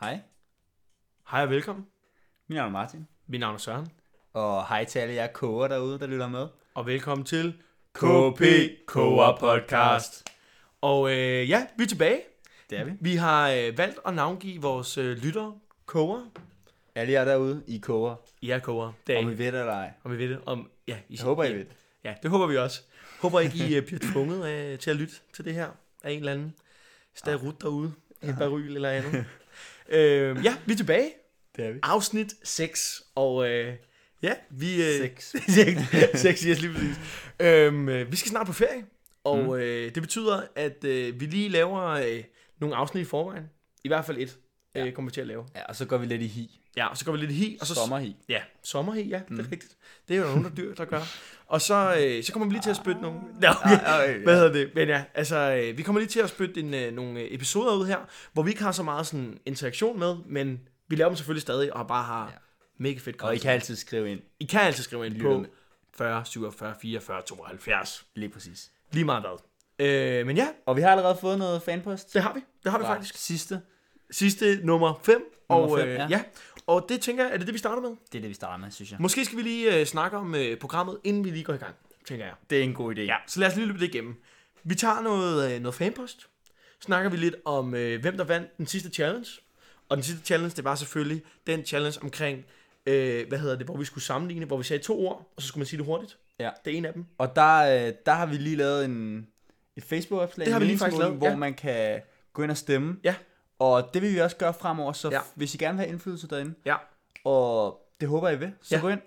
Hej, Hej og velkommen. mit navn er Martin, Mit navn er Søren. og hej til alle jer koger derude, der lytter med. Og velkommen til KP Koger Podcast. Og øh, ja, vi er tilbage. Det er vi. Vi har øh, valgt at navngive vores øh, lyttere koger. Alle jer derude, I koger, I er koger. Det er om I. I ved det eller ej. Om vi ved det. Om, ja, I, Jeg håber, I ved det. Ja, det håber vi også. Håber ikke, I øh, bliver tvunget øh, til at lytte til det her af en eller anden starut derude. En baryl eller andet. øh, ja, vi er tilbage. Det er vi. Afsnit 6. Og øh, ja, vi... Øh, Seks. Seks, yes, lige præcis. Øhm, øh, vi skal snart på ferie, og mm. øh, det betyder, at øh, vi lige laver øh, nogle afsnit i forvejen. I hvert fald et ja. øh, kommer vi til at lave. Ja, og så går vi lidt i hi. Ja, og så går vi lidt i hi. Og så, Sommerhi. Ja, sommer hi, ja, mm. det er rigtigt. Det er jo der nogen, der dyr, der gør. Og så, øh, så kommer vi lige til at spytte nogle... Nå, Ah, okay. Ej, ej, Hvad hedder det? Men ja, altså, øh, vi kommer lige til at spytte en, øh, nogle øh, episoder ud her, hvor vi ikke har så meget sådan, interaktion med, men vi laver dem selvfølgelig stadig, og bare har Ja. mega fedt Og I content. kan altid skrive ind. I kan altså skrive ind Lytter på med. 40 47 44 72. Lige præcis. Lige meget hvad. Øh, men ja, Og vi har allerede fået noget fanpost. det har vi. Det har vi Fra faktisk. Sidste. Sidste nummer 5. Nummer Og, fem, øh, ja. ja. ja. og det tænker jeg, er det det, vi starter med? Det er det, vi starter med, synes jeg. Måske skal vi lige øh, snakke om øh, programmet, inden vi lige går i gang, tænker jeg. Det er en god idé. Ja, så lad os lige løbe det igennem. Vi tager noget, øh, noget fanpost. Snakker vi lidt om, øh, hvem der vandt den sidste challenge. Og den sidste challenge, det var selvfølgelig den challenge omkring, øh, hvad hedder det, hvor vi skulle sammenligne, hvor vi sagde to ord, og så skulle man sige det hurtigt. Ja. Det er en af dem. Og der, øh, der har vi lige lavet en, et Facebook-opslag, Det har en vi lige faktisk meningsmåling, lavet, hvor ja. man kan gå ind og stemme. Ja. Og det vil vi også gøre fremover, så Ja. ja. hvis I gerne vil have indflydelse derinde, Ja. og det håber I vil, så Ja. ja. gå ind,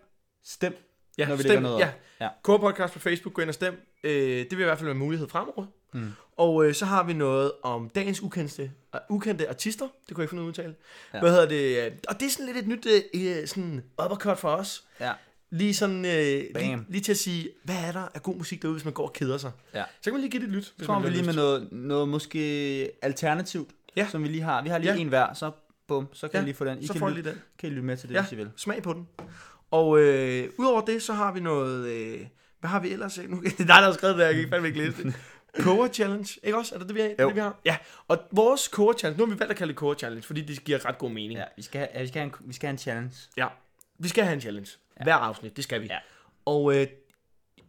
stem, Ja, når vi lægger stem, noget ja. op. Ja. Kåre Podcast på Facebook, gå ind og stem. Øh, det vil i hvert fald være en mulighed fremover. Mm. Og øh, så har vi noget om dagens ukendte, uh, ukendte artister. Det kunne jeg ikke finde ud af at udtale. Ja. Ja. Hvad hedder det? øh, Og det er sådan lidt et nyt øh, øh, sådan uppercut for os. Ja. Lige, sådan, øh, Bam. lige, lige til at sige, hvad er der af god musik derude, hvis man går og keder sig? Ja. Så kan man lige give det et lyt. Så hvis kommer vi man har lige med lyst. noget, noget måske alternativt, Ja. som vi lige har. Vi har lige Ja. en hver, så bum, så kan Ja, I lige få den. I Så kan, får jeg lytte, lige den. kan I lytte med til det, Ja, hvis I vil. smag på den. Og øh, udover det, så har vi noget... Øh, hvad har vi ellers? Nu, det er dig, der har skrevet det, her, jeg kan fandme ikke læse det. Koger Challenge, ikke også? Er det det, vi har? Jo. Det, vi har? Ja, og vores Koger Challenge, nu har vi valgt at kalde det Koger Challenge, fordi det giver ret god mening. Ja, vi skal, have, ja, vi skal, have en, vi skal have en challenge. Ja. Vi skal have en challenge. Ja. Hver afsnit, det skal vi. Ja. Og øh,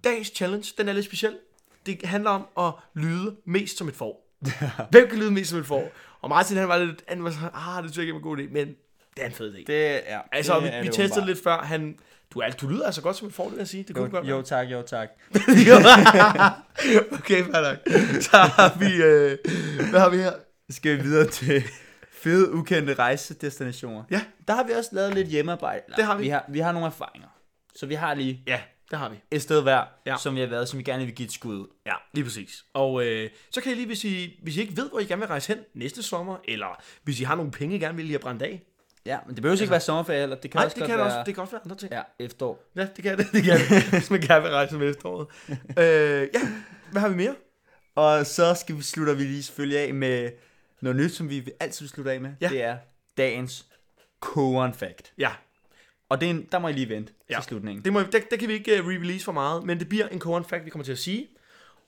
dagens challenge, den er lidt speciel. Det handler om at lyde mest som et får. Hvem kan lyde mest som et får? Og Martin, han var lidt, han var sådan, ah, det synes jeg ikke var en god idé, men det er en fed idé. Det, ja, Altså, det vi, er vi det testede åbenbart. lidt før, han... Du, er, du lyder altså godt som en fordel, vil jeg sige. Det kunne du godt Jo, jo være. tak, jo tak. okay, fair nok. Så har vi... Øh, hvad har vi her? skal vi videre til fede, ukendte rejsedestinationer. Ja. Der har vi også lavet lidt hjemmearbejde. Eller, Det har vi. Vi har, vi har nogle erfaringer. Så vi har lige Ja, det har vi. et sted hver, Ja. ja. som vi har været, som vi gerne vil give et skud ud. Ja, lige præcis. Og øh, så kan I lige, hvis I, hvis I ikke ved, hvor I gerne vil rejse hen næste sommer, eller hvis I har nogle penge, I gerne vil lige have brændt af. Ja, men det behøver ikke være sommerferie heller. Det kan Altså- også Nej, det godt kan, være også, det kan også være andre ting. Ja, Ja, efterår. ja det kan det. det, kan det hvis man gerne vil rejse med efteråret. øh, ja, hvad har vi mere? Og så skal vi, slutter vi lige selvfølgelig af med noget nyt, som vi altid slutter af med. Ja. Det er dagens koren fact. Ja, Og det er en, der må I lige vente Ja. ja. til slutningen. Det, må, det, det kan vi ikke uh, re-release for meget, men det bliver en koren fact, vi kommer til at sige.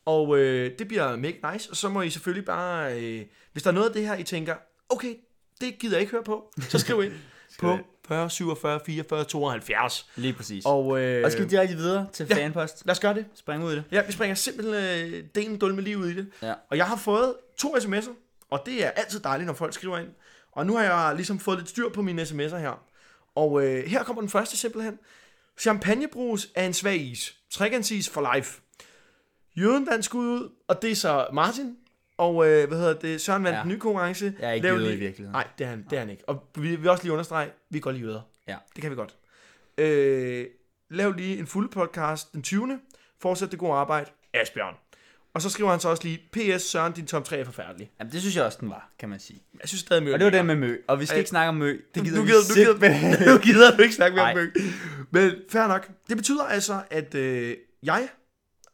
Og øh, det bliver mega nice, og så må I selvfølgelig bare, øh, hvis der er noget af det her, I tænker, okay, det gider jeg ikke høre på, så skriv ind på 40 47 44 72. Lige præcis. Og, Og, øh, og så skal vi direkte videre til ja. ja. fanpost. lad os gøre det. Spring ud i det. Ja, vi springer simpelthen øh, delen dulme lige ud i det. Ja. Og jeg har fået to sms'er, og det er altid dejligt, når folk skriver ind. Og nu har jeg ligesom fået lidt styr på mine sms'er her. Og øh, her kommer den første simpelthen. Champagnebrus er en svag is. Trekantis for life. Jøden vandt skud ud, og det er så Martin. Og øh, hvad hedder det? Søren vandt ja. Ja. den nye konkurrence. Jeg er ikke Lav jøde lige- i virkeligheden. Nej, det er han, det er han ikke. Og vi vil også lige understrege, vi går lige jøder. Ja. Det kan vi godt. Øh, lav lige en fuld podcast den 20. Fortsæt det gode arbejde. Asbjørn. Og så skriver han så også lige, PS Søren, din top 3 er forfærdelig. Jamen, det synes jeg også, den var, kan man sige. Jeg synes stadig, Mø. Og det var den med mø. Og vi skal Ej. ikke snakke om mø. Det gider nu vi Øh, gider, nu, simpelthen gider, nu gider du ikke snakke mere om Nej. Mø. Men fair nok. Det betyder altså, at øh, jeg,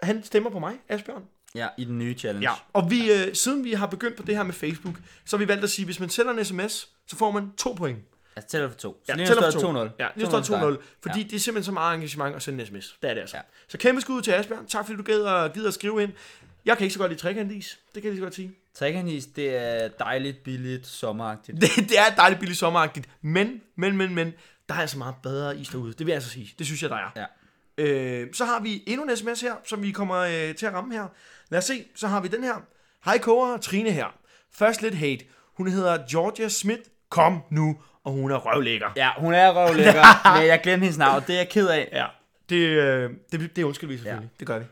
han stemmer på mig, Asbjørn. Ja, i den nye challenge. Ja, og vi, øh, siden vi har begyndt på det her med Facebook, så har vi valgt at sige, at hvis man sender en sms, så får man to point. Altså, tæller for to. Så Ja, lige nu tæller står for to. det 2-0. Ja, nu står det 2-0, fordi ja. det er simpelthen så meget engagement at sende en sms. Det er det altså. Ja. Ja. Så kæmpe skud ud til Asbjørn. Tak fordi du gider, gider at skrive ind. Jeg kan ikke så godt lide trekantis. Det kan jeg lige så godt sige. Trækanis, det er dejligt, billigt, sommeragtigt. Det, det er dejligt billigt sommeragtigt, men, men, men, men, der er altså meget bedre is derude. Det vil jeg altså sige. Det synes jeg, der er. Ja. Øh, så har vi endnu en sms her, som vi kommer øh, til at ramme her. Lad os se, så har vi den her. Hej Kåre, Trine her. Først lidt hate. Hun hedder Georgia Smith. Kom nu, og hun er røvlækker. Ja, hun er røvlækker, men jeg glemte hendes navn. Det er jeg ked af. Ja, det, øh, det, det undskylder vi selvfølgelig. Ja. Det gør vi.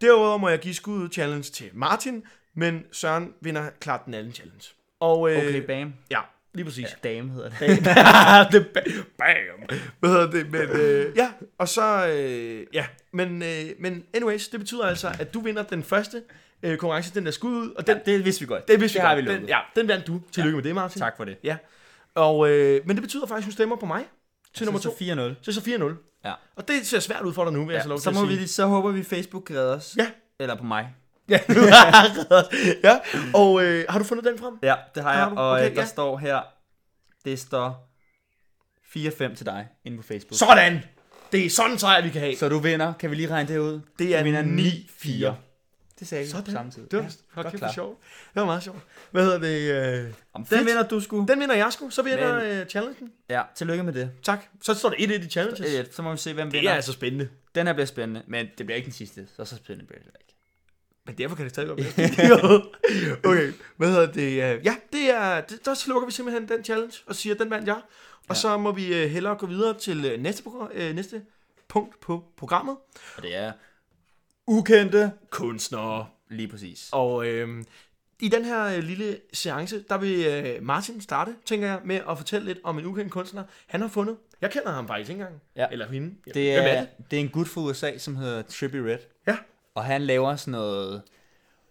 Derudover må jeg give skud challenge til Martin, men Søren vinder klart den anden challenge. Og, øh, Okay, bam. Ja, lige præcis. Ja. Dame hedder det. Dame. det er ba- bam. Hvad hedder det? Men, øh, ja, og så... Øh, ja, men, øh, men anyways, det betyder altså, at du vinder den første øh, konkurrence, den der skud ud, og den, ja, Det vidste vi godt. det, vidste det vi har vi godt. lukket. Den, ja, den vandt du. Tillykke ja. med det, Martin. Tak for det. Ja. Og, øh, men det betyder faktisk, at hun stemmer på mig til nummer Så to. 4-0. Så er så 4-0. Ja. Og det ser svært ud for dig nu, vil ja, jeg så lov Ja, til så, at må sige. vi, så håber vi, Facebook redder os. Ja. Eller på mig. Ja, nu har jeg reddet os. ja. og øh, har du fundet den frem? Ja, det har jeg. Har du? Og Okay, okay, der ja. står her, det står 4-5 til dig inde på Facebook. Så, Sådan! Det er sådan en sejr, vi kan have. så du vinder. Kan vi lige regne det ud? Det er Du vinder 9-4. 9-4. Det sagde vi Sådan. samtidig. Det var ja, godt kæft, det sjovt. Det var meget sjovt. Hvad hedder det? Øh, Om den Fedt. vinder du sgu. den vinder jeg sgu, så vinder Men- øh, challengen. Ja, tillykke med det. Tak. Så står det 1-1 i challenges. Det Øh, Så må vi se, hvem er vinder. altså spændende. Den her bliver spændende, men det bliver ikke den sidste. Så så spændende bliver det heller ikke. Men derfor kan det stadig godt være. okay, hvad hedder det? øh, Ja, det er, det, der slukker vi simpelthen den challenge og siger, den vandt jeg. Og ja. så må vi øh, hellere gå videre til øh, næste, program, øh, næste punkt på programmet. Og det er ukendte. Kunstnere. Lige præcis. Og øh, i den her øh, lille seance, der vil øh, Martin starte, tænker jeg, med at fortælle lidt om en ukendt kunstner, han har fundet. Jeg kender ham faktisk ikke engang. Ja. Eller hende. Det Hvem er, det er en gut fra USA, som hedder Trippy Red. Ja. Og han laver sådan noget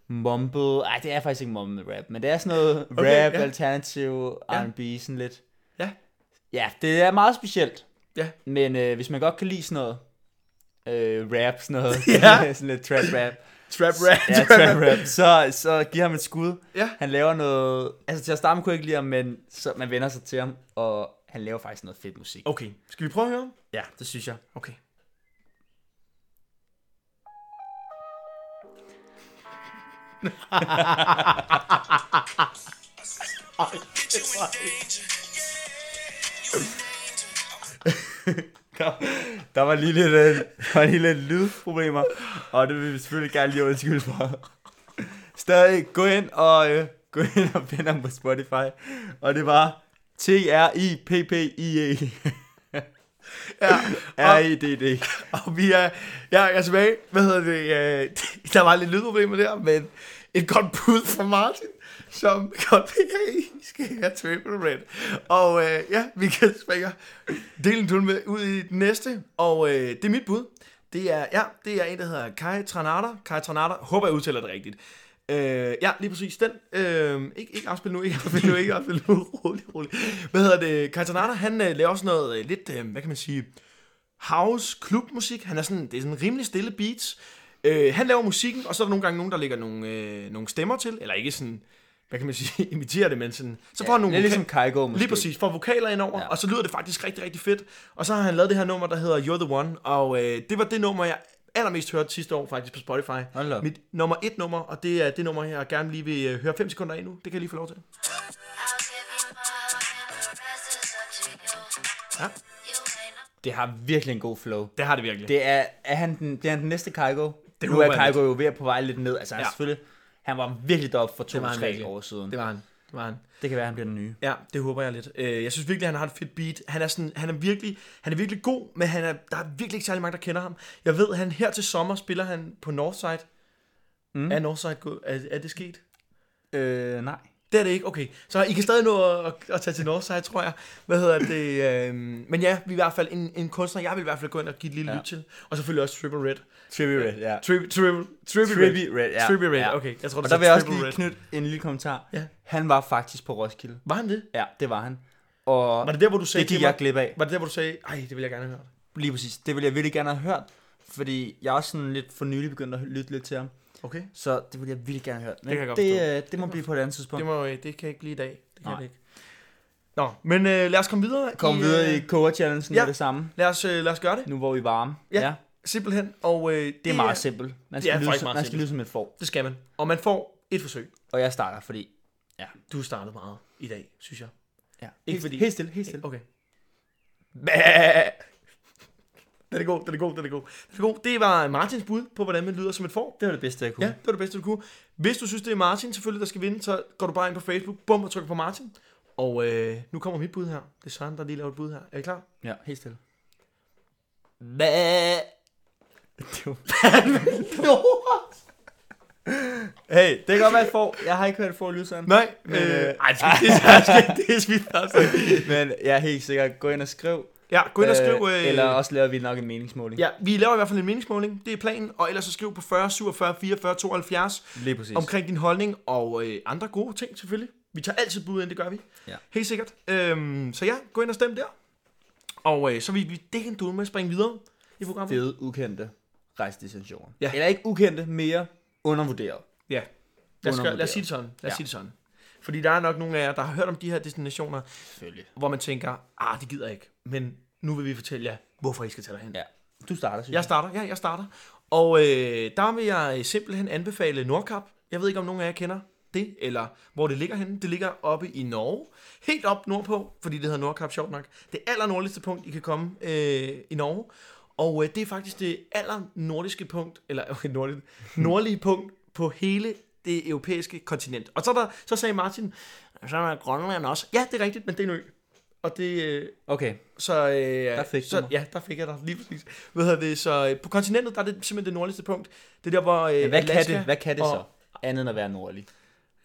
mumble... Ej, det er faktisk ikke mumble rap, men det er sådan noget Okay, okay, rap, ja. ja. alternativ, Ja. R&B, sådan lidt. Ja. Ja, det er meget specielt. Ja. Men øh, hvis man godt kan lide sådan noget øh, rap, sådan noget, Ja. sådan lidt trap rap, Trap rap. ja, trap rap, så, så giv ham et skud. Ja. Han laver noget... Altså til at starte med kunne jeg ikke lide ham, men så, man vender sig til ham, og han laver faktisk noget fedt musik. Okay, skal vi prøve at høre ham? Ja, det synes jeg. Okay. Der var lige lidt, øh, der var lige lidt lydproblemer, og det vil vi selvfølgelig gerne lige undskylde for. Stadig gå ind og øh, gå ind og find ham på Spotify, og det var T R I P P I E Ja, R E D D. og vi er, ja, jeg er tilbage. Hvad hedder det? Øh, der var lidt lydproblemer der, men et godt bud fra Martin, som godt vil have, I skal have triple red. Og øh, ja, vi kan springe delen du med ud i den næste, og øh, det er mit bud. Det er, ja, det er en, der hedder Kai Tranada. Kai Tranada, håber jeg udtaler det rigtigt. Øh, ja, lige præcis den. Øh, ikke, ikke afspil nu, ikke afspil nu, ikke afspil nu. rolig, rolig. Hvad hedder det? Kai Tranada, han øh, laver sådan noget øh, lidt, øh, hvad kan man sige, house klubmusik. Han er sådan, det er sådan rimelig stille beats. Øh, han laver musikken, og så er der nogle gange nogen, der lægger nogle, øh, nogle stemmer til, eller ikke sådan, hvad kan man sige, imiterer det, men sådan, så får han nogle Lidt vokal- ligesom Kaigo måske. Lige præcis, får vokaler ind over, ja. Ja. og så lyder det faktisk rigtig, rigtig fedt. Og så har han lavet det her nummer, der hedder You're the One, og øh, det var det nummer, jeg allermest hørte sidste år faktisk på Spotify. Hold da op. Mit nummer et nummer, og det er det nummer, jeg gerne lige vil øh, høre 5 sekunder af nu. Det kan jeg lige få lov til. I'll give you my heart and the rest is up to you. Ja, You ain't no Det har virkelig en god flow. det har det virkelig. Det er, er han den, det er han den næste Kaigo. Det nu håber er jeg Kaigo jo ved at på vej lidt ned. Altså han Ja. ja. selvfølgelig, han var virkelig deroppe for var han 2-3 virkelig. år siden. det var han. Det var han. Det kan være, han bliver den nye. Ja, det håber jeg lidt. Øh, jeg synes virkelig, han har et fedt beat. Han er, sådan, han er, virkelig, han er virkelig god, men han er, der er virkelig ikke særlig mange, der kender ham. Jeg ved, han her til sommer spiller han på Northside. Mm. Er Northside gået? Er, er det sket? Øh, nej. Det er det ikke, okay. Så I kan stadig nå at, at tage til Northside, tror jeg. Hvad hedder det? Øhm, men ja, vi er i hvert fald en, en kunstner, jeg vil i hvert fald gå ind og give et lille ja. Ja. lyt til. Og selvfølgelig også Triple Red. Trippy Red, ja. Triple, triple, triple, Trippy Red. Red, ja. Triple Red, ja. okay. Jeg tror, Og det der er vil jeg også Triple lige Red. knytte en lille kommentar. Ja. Han var faktisk på Roskilde. Var han det? Ja, det var han. Og Var det der, hvor du sagde det gik til mig- jeg glip af. Var det der, hvor du sagde, ej, det vil jeg gerne høre? Lige præcis. Det ville jeg virkelig gerne have hørt. Fordi jeg er også sådan lidt for nylig begyndt at lytte lidt til ham. Okay. Så det ville jeg virkelig gerne have hørt. Men Det kan jeg godt forstå. det, øh, det må blive på et andet tidspunkt. Det, må, øh, det kan ikke blive i dag. Det kan Nej. det ikke. Nå, men øh, lad os komme videre. Kom i, videre øh, i Cora Challengen ja. med det samme. Lad os, øh, lad os gøre det. Nu hvor vi er varme. Ja. Simpelthen. Og, øh, Det er meget simpelt. Man skal, faktisk lyde, som, meget man skal simpelt. lyde som et får. Det skal man. Og man får Et forsøg. Og jeg starter, fordi... Ja. Du startede meget i dag, synes jeg. ja. Ikke fordi- Helt stille, helt stille. Okay. Bæh! Den er god, den er god, den er god. Den er god. Det var Martins bud på, hvordan man lyder som et får. Det var det bedste, jeg kunne. Ja, det var det bedste, du kunne. Hvis du synes, det er Martin selvfølgelig, der skal vinde, så går du bare ind på Facebook, bum, og trykker på Martin. Og øh, nu kommer mit bud her. Det er Søren, der lige laver et bud her. Er I klar? ja helt stille. Bæh! Det var Hey, det kan godt være, at får. Jeg har ikke hørt få lyde sådan. Nej, øh, Men, øh, ej, det skal- det skal- det er skidt. altså. Men jeg er helt sikker. Gå ind og skriv. Ja, gå ind og skriv. Øh, eller også laver vi nok en meningsmåling. Ja, vi laver i hvert fald en meningsmåling. Det er planen. Og ellers så skriv på 40, 47, 44, 72. Lige præcis. omkring din holdning og øh, andre gode ting selvfølgelig. Vi tager altid bud ind, det gør vi. Ja. Helt sikkert. Øhm, så ja, gå ind og stem der. Og øh, så vil vi dække en dude med at springe videre i programmet. fede, ukendte rejsedistensioner. Ja. Ja. Eller ikke ukendte, mere undervurderet. Ja. Lad os, gøre- lad os Undervurderet. sige det sådan. Lad os Ja. sige det sådan. Fordi der er nok nogle af jer, der har hørt om de her destinationer, Selvfølgelig. hvor man tænker, ah, det gider jeg ikke. Men nu vil vi fortælle jer, hvorfor I skal tage derhen. Ja. Du starter, synes Jeg starter, ja, jeg starter. Og øh, der vil jeg simpelthen anbefale Nordkap. Jeg ved ikke, om nogen af jer kender det, eller hvor det ligger henne. Det ligger oppe i Norge. Helt op nordpå, fordi det hedder Nordkap, sjovt nok. Det allernordligste punkt, I kan komme øh, i Norge. Og øh, det er faktisk det allernordiske punkt, eller okay, nordlige, nordlige punkt på hele det europæiske kontinent. Og så, er der, så sagde Martin, så er der Grønland også. Ja, det er rigtigt, men det er en ø. Og det, øh, Okay. så, øh, der fik du så, mig. Ja, der fik jeg dig, lige præcis. Hvad hedder det? Så øh, på kontinentet, der er det simpelthen det nordligste punkt. Det er der, hvor øh, Men hvad kan, det, hvad kan det så? og- Andet end at være nordlig.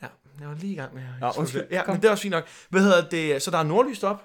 Ja, jeg var lige i gang med at- Nå, undskyld. Ja, men det er også fint nok. Hvad hedder det? Så der er nordlys op.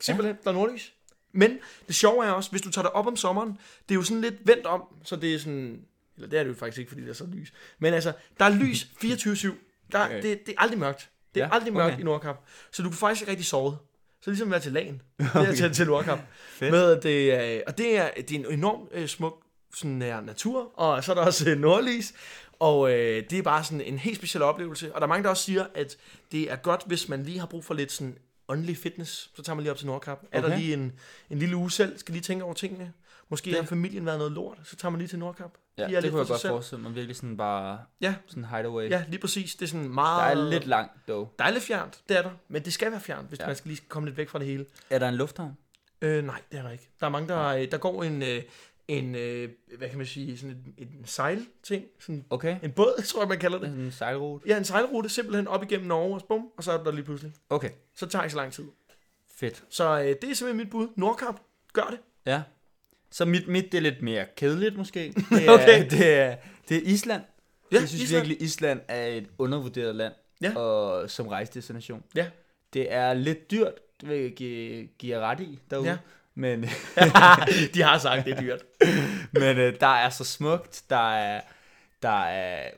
Simpelthen, der er nordlys. Men det sjove er også, hvis du tager det op om sommeren, det er jo sådan lidt vendt om, så det er sådan... Eller det er det jo faktisk ikke, fordi der er så lys. Men altså, der er lys 24-7. Der, Okay. det, det er aldrig mørkt. Det er Ja, aldrig mørkt okay. i Nordkap. Så du kan faktisk ikke rigtig sove. Så ligesom at være til lagen. Det er til, til Nordkap. Fedt. Med det, øh, og det er, det er en enorm øh, smuk sådan, ja, natur, og så er der også øh, nordlys. Og øh, det er bare sådan en helt speciel oplevelse. Og der er mange, der også siger, at det er godt, hvis man lige har brug for lidt sådan åndelig fitness, så tager man lige op til Nordkap. Okay. Er der Okay. lige en, en lille uge selv, skal lige tænke over tingene. Måske det. har familien været noget lort, så tager man lige til Nordkap. Ja, Lige er det lidt kunne jeg for sig godt selv. forestille mig. Virkelig sådan bare Ja, sådan hideaway. ja, lige præcis. Det er sådan Der meget... er lidt langt, dog. der er lidt fjernt, det er der. Men det skal være fjernt, hvis ja. Ja. man skal lige komme lidt væk fra det hele. Er der en lufthavn? Øh, nej, det er der ikke. Der er mange, der, øh, der går en, øh, en øh, hvad kan man sige, sådan en, en sejlting, sådan Okay. en båd, tror jeg, man kalder Det er det. sådan en sejlrute. Ja, en sejlrute simpelthen op igennem Norge, og så bum, og så er du der lige pludselig. Okay. Så tager det ikke så lang tid. Fedt. Så øh, det er simpelthen mit bud. Nordkap, gør det. Ja. Så mit, mit det er lidt mere kedeligt måske. Det er, Okay. det er, det er Island. Ja, jeg synes Island. virkelig, Island er et undervurderet land Ja. og, som rejsedestination. Ja. Det er lidt dyrt, det vil jeg give, give jer ret i derude. Ja. Ja. Men, De har sagt, det er dyrt. men øh, der er så smukt, der er, der er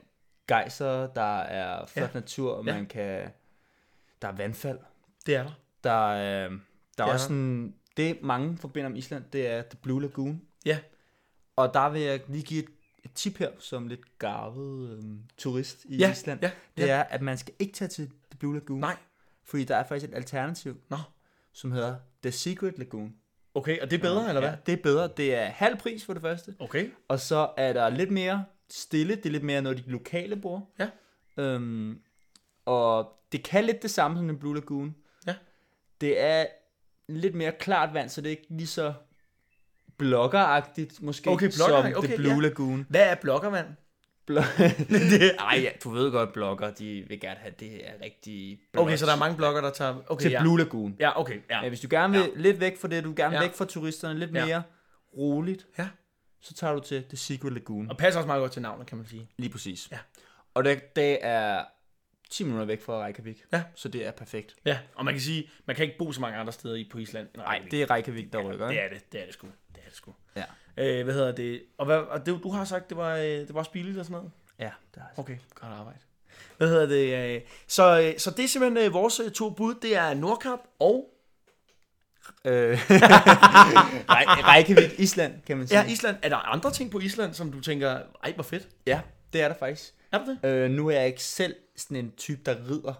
gejser, der er flot ja. natur, og Ja. man kan, der er vandfald. Det er der. Der, er, øh, der er Ja. også sådan, det mange forbinder med Island, det er The Blue Lagoon. Ja. Og der vil jeg lige give et, et tip her, som lidt garvet øhm, turist i Ja, Island. ja, det ja. er, at man skal ikke tage til The Blue Lagoon. Nej. Fordi der er faktisk et alternativ, Nå. som hedder The Secret Lagoon. Okay, og det er bedre, eller hvad? Ja, det er bedre. Det er halv pris for det første. Okay. Og så er der lidt mere stille. Det er lidt mere noget, de lokale bruger. Ja. Øhm, og det kan lidt det samme som den Blue Lagoon. Ja. Det er lidt mere klart vand, så det er ikke lige så blokkeragtigt måske, Okay, som blokkeragtigt. Okay, The Blue ja. Lagoon. Hvad er blokkermand? Blo- Ej, ja, du ved godt, blogger, de vil gerne have det her rigtig blot. Okay, så der er mange blokker, der tager... Okay, til ja. Blue Lagoon. Ja, okay, ja. Ja, hvis du gerne vil ja. lidt væk fra det, du gerne vil Ja. væk fra turisterne, lidt Ja. mere roligt, Ja. så tager du til The Secret Lagoon. Og passer også meget godt til navnet, kan man sige. Lige præcis. Ja. Og det, det er 10 minutter væk fra Reykjavik. Ja. Så det er perfekt. Ja, og man kan sige, man kan ikke bo så mange andre steder i på Island. Nej, det er Reykjavik, der rykker. Det ikke? er det, det er det sgu. Det er det sgu. Ja. Øh, hvad hedder det? Og, hvad, og det, du har sagt, det var, øh, det var også billigt og sådan noget? Ja, det er Okay, godt arbejde. Hvad hedder det? øh, Så, øh, så det er simpelthen øh, vores øh, to bud. Det er Nordkap og øh, Re- Reykjavik, Island, kan man sige. ja, Island. Er der andre ting på Island, som du tænker, ej, hvor fedt? ja det er der faktisk. Er der det? Øh, nu er jeg ikke selv sådan en type, der rider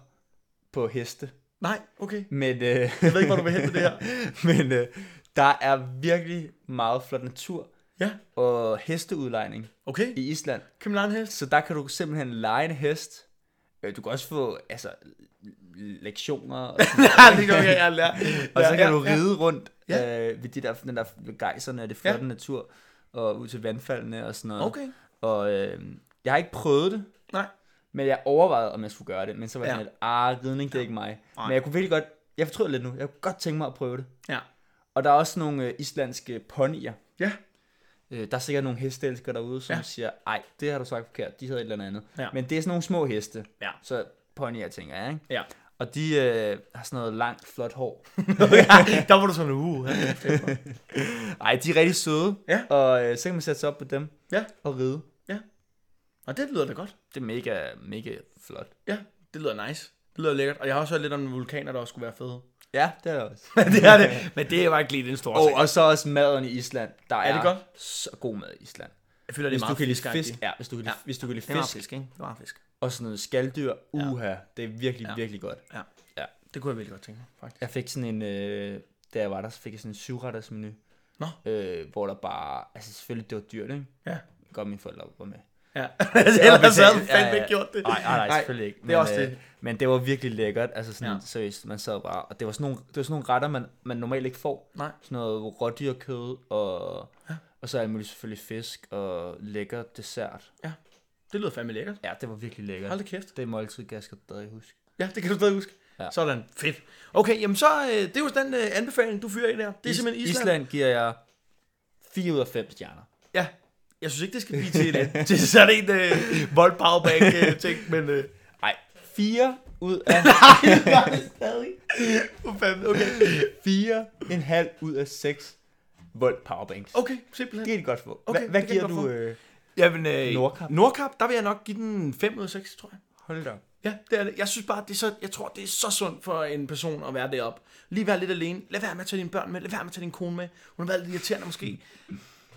på heste. Nej, okay. Men, øh, Jeg ved ikke, hvor du vil hen med det her. men øh, der er virkelig meget flot natur Ja, og hesteudlejning okay. i Island. København hest. Så der kan du simpelthen lege en hest Øh, Du kan også få altså, lektioner. Og, sådan ja, det gør jeg, jeg lærer. og så Ja, kan ja, du ja. ride rundt Ja. øh, ved de der, den der ved gejserne og det flotte ja. natur, og ud til vandfaldene og sådan noget. Okay. Og øh, jeg har ikke prøvet det, Nej. men jeg overvejede, om jeg skulle gøre det. Men så var jeg Ja. sådan lidt, ah, ridning, det er ikke mig. Men jeg kunne virkelig godt, jeg fortryder lidt nu, jeg kunne godt tænke mig at prøve det. Ja. Og der er også nogle øh, islandske ponyer. Ja. Øh, der er sikkert nogle hesteelskere derude, som Ja. ja. siger, ej, det har du sagt forkert, de hedder et eller andet. Ja. Men det er sådan nogle små heste, Ja. så ponyer tænker jeg, ikke? Ja. Og de øh, har sådan noget langt, flot hår. der var du sådan, uh. ja. Ej, de er rigtig søde. Ja. Og øh, så kan man sætte sig op på dem Ja. og ride. Og det lyder da godt. Det er mega, mega flot. Ja, det lyder nice. Det lyder lækkert. Og jeg har også hørt lidt om vulkaner, der også skulle være fede. Ja, det er det også. det er det. Men det var ikke lige den store Og, og så også maden i Island. Der er, Er det godt? så god mad i Island. Jeg føler, det er Hvis du meget kan lide fiskagtigt. fisk, ja, hvis du kan lide, Ja. ja. hvis du kan lide Det er meget fisk, fisk, ikke? Det var fisk. og sådan noget skalddyr, uha, det er virkelig, Ja. ja. virkelig godt. Ja. Ja. Det kunne jeg virkelig godt tænke mig, faktisk. Jeg fik sådan en, øh, da jeg var der, så fik jeg sådan en syvretters menu. Nå. Øh, hvor der bare, altså selvfølgelig, det var dyrt, ikke? Ja. Godt, mine forældre var med. Ja. Ellers havde du fandme ikke gjort det. Nej, nej, nej, selvfølgelig ikke. det er også det. Øh, men det var virkelig lækkert, altså sådan, Ja. ja. seriøst, man sad bare, og det var sådan nogle, det var sådan nogle retter, man, man normalt ikke får. Nej. Sådan noget rådyrkød, og, ja. og så alt muligt selvfølgelig fisk, og lækker dessert. Det lyder fandme lækkert. Ja, det var virkelig lækkert. Hold da kæft. Det måltid kan jeg skal stadig huske. Ja, det kan du stadig huske. Ja. Ja. Sådan, fedt. Okay, jamen så, øh, det er jo den øh, anbefaling, du fyrer i der. Det er simpelthen Island. Island. Island giver jeg 4 ud af 5 stjerner. Ja, jeg synes ikke, det skal blive til, en, til sådan en øh, vold powerbank øh, ting, men øh, Nej, 4 ud af stadig. For fanden, okay. 4, en halv ud af 6 volt powerbanks. Okay, simpelthen. Det er et godt få. Okay, Okay, hvad, hvad det kan jeg giver godt du? få. Øh, Jamen, øh, Nordkap. Nordkap, der vil jeg nok give den 5 ud af 6, tror jeg. hold da. op. Ja, det er det. Jeg synes bare, det er så, jeg tror, det er så sundt for en person at være deroppe. Lige være lidt alene. Lad være med at tage dine børn med. Lad være med at tage din kone med. Hun har været lidt irriterende måske.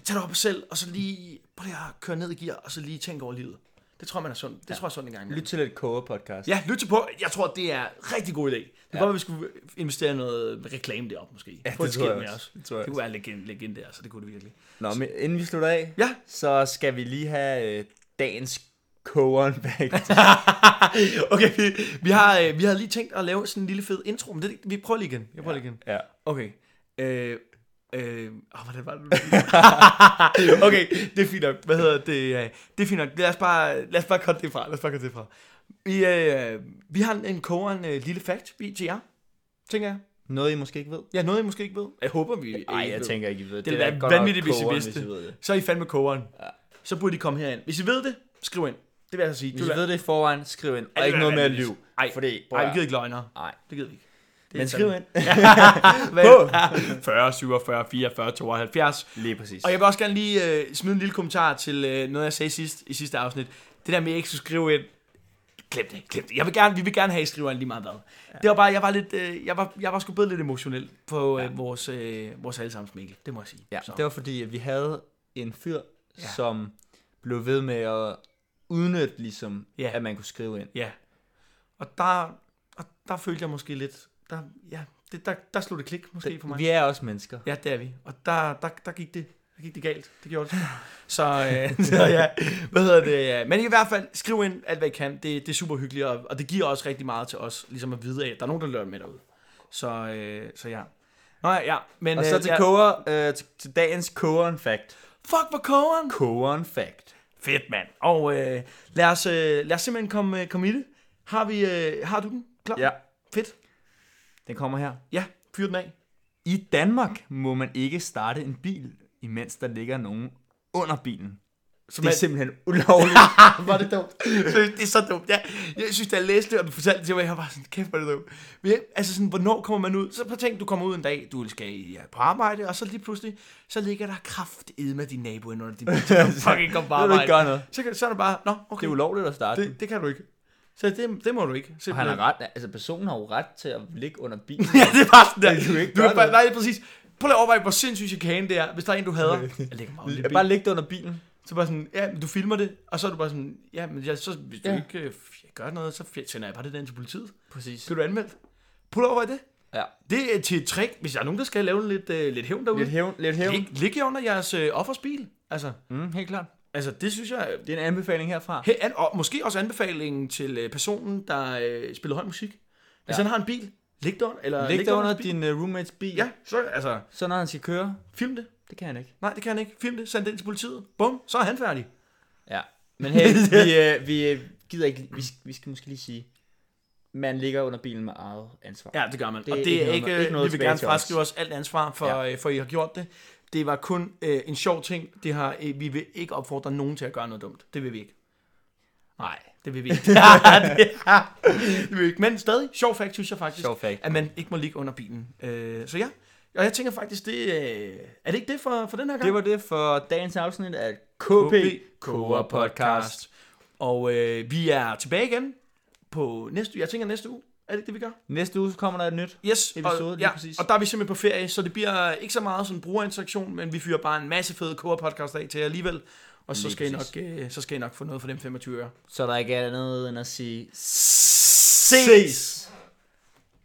Tag dig op selv, og så lige prøv lige at køre ned i gear, og så lige tænke over livet. Det tror jeg, man er sundt. Det tror jeg er sundt en gang imellem. Lyt til et koge-podcast. Ja, lyt til på. Jeg tror, det er en rigtig god idé. Det er ja. godt, at vi skulle investere i noget reklame deroppe måske. Ja, det tror jeg også. Det, Det tror jeg det kunne være legend, legend der, så det kunne det virkelig. Nå, men inden vi slutter af, Ja. så skal vi lige have øh, dagens kogeren væk. okay, vi, vi, har, øh, vi har lige tænkt at lave sådan en lille fed intro, men det, vi prøver lige igen. Jeg prøver lige igen. ja. Okay. Øh, øh, åh, hvordan var det? nu? okay, det er fint nok. Hvad hedder det? øh, Det er fint nok. Lad os bare, lad os bare komme det fra. Lad os bare komme det fra. Vi, øh, vi har en, en kogeren øh, lille fact vi- til jer, tænker jeg. Noget, I måske ikke ved? Ja, noget I måske ikke ved. Jeg håber, vi Nej, ikke jeg ved. tænker ikke, I ved det. Det ville er være godt nok vanvittigt, hvis I kogeren, vidste. Hvis I ved det. Så er I fandme kogeren. Ja. Så burde I komme herind. Hvis I ved det, skriv ind. Det vil jeg altså sige. Hvis I ved det i forvejen, skriv ind. Og ikke noget med at lyve. Ej, Fordi, Ej, vi gider ikke løgnere. Nej. Det gider vi ikke. Det er Men fandme- skriv ind. Hvad? 40, 47, 44, 72. Lige præcis. Og jeg vil også gerne lige øh, smide en lille kommentar til øh, noget, jeg sagde sidst, i sidste afsnit. Det der med, at jeg ikke skulle skrive ind. Klip det, klip det. Jeg vil gerne, vi vil gerne have, at I skriver ind lige meget hvad. Ja. Det var bare, jeg var lidt, øh, jeg var, jeg var sgu blevet lidt emotionel på øh, vores, øh, vores allesammens Mikkel. Det må jeg sige. Ja, Så. det var fordi, at vi havde en fyr, ja. som blev ved med at udnytte, ligesom, Ja. ja. at man kunne skrive ind. ja. Og der, og der følte jeg måske lidt, der, ja, det, der, der slog det klik måske for mig. Vi er også mennesker. Ja, det er vi. Og der, der, der gik det der gik det galt. Det gjorde det. Så, øh, så ja, hvad hedder det? ja. Men i hvert fald, skriv ind alt, hvad I kan. Det, det er super hyggeligt, og, og det giver også rigtig meget til os, ligesom at vide af, at der er nogen, der lører med derude. Så, øh, så ja. Nå ja, ja. Men, Og så øh, til, ja. koger, øh, til, til dagens kogeren fact. Fuck, hvor kogeren! Kogeren fact. Fedt, mand. Og øh, lad, os, øh, lad os simpelthen komme, øh, komme i det. Har, vi, øh, har du den klar? Ja, Fedt. den kommer her. Ja, fyr den af. I Danmark må man ikke starte en bil, imens der ligger nogen under bilen. Så det er man- simpelthen ulovligt. var det dumt. Seriøst, det er så dumt. Jeg, jeg synes, da jeg læste det, og du fortalte det til mig, jeg var sådan, kæft, hvor er det dumt. Men jeg, altså sådan, hvornår kommer man ud? Så prøv at tænk, du kommer ud en dag, du skal i- ja, på arbejde, og så lige pludselig, så ligger der kraft med din nabo ind under din bil. Så kan du fucking komme på Det vil du arbejde. ikke gøre noget. Så, kan, så er det bare, nå, okay, Det er ulovligt at starte. Det, det, det kan du ikke. Så det, det må du ikke. han Simpelthen. har ret. Altså, personen har jo ret til at ligge under bilen. ja, det er bare sådan der. Det kan du ikke du kan gøre bare, noget. nej, det er præcis. Prøv lige at overveje, hvor sindssyg chikane det er, hvis der er en, du hader. Jeg lægger mig under din bil. Bare ligge det under bilen. Så bare sådan, ja, men du filmer det, og så er du bare sådan, ja, men jeg, så, hvis du ja. Ja. ikke øh, f- gør noget, så f- sender jeg bare det der ind til politiet. Præcis. Skal du anmeldt? Prøv over i det. Ja. Det er til et trick, hvis der er nogen, der skal lave lidt, øh, lidt hævn derude. Lidt hævn. Lidt hævn. Lig, lig jer under jeres øh, offers bil. Altså, Mm, helt klart. Altså, det synes jeg... Det er en anbefaling herfra. Hey, an, og måske også anbefalingen til øh, personen, der øh, spiller høj musik. Hvis Ja. han har en bil, læg det under, eller Læg dig under hans bil. din uh, roommates bil. Ja, så altså, Så når han skal køre, film det. det kan han ikke. Nej, det kan han ikke. Film det, send det ind til politiet. Bum, så er han færdig. Ja. Men hey, vi, uh, vi uh, gider ikke, vi, vi skal måske lige sige, man ligger under bilen med eget ansvar. Ja, det gør man. Det Det er og det ikke er noget- ikke, ikke ikke noget noget vi vil tilbage gerne til os. fraskrive os alt ansvar for, Ja. ja. for I har gjort det. Det var kun øh, en sjov ting. Det har, øh, vi vil ikke opfordre nogen til at gøre noget dumt. Det vil vi ikke. Nej, det vil vi ikke. det, det vil vi ikke. Men stadig, sjov fact synes jeg faktisk, Sjov fact. at man ikke må ligge under bilen. Øh, så ja, og jeg tænker faktisk, det, øh, er det ikke det for, for den her gang? Det var det for dagens afsnit af KP Kora Podcast. Og øh, vi er tilbage igen på næste uge. Jeg tænker næste uge. Er det ikke det, vi gør? Næste uge så kommer der et nyt. Yes, episode, og, lige ja, præcis. og der er vi simpelthen på ferie, så det bliver ikke så meget sådan brugerinteraktion, men vi fyrer bare en masse fede koger-podcast af til jer alligevel, og så Lige skal, I nok, præcis. øh, så skal I nok få noget for dem 25 øre. Så der ikke er andet end at sige Ses!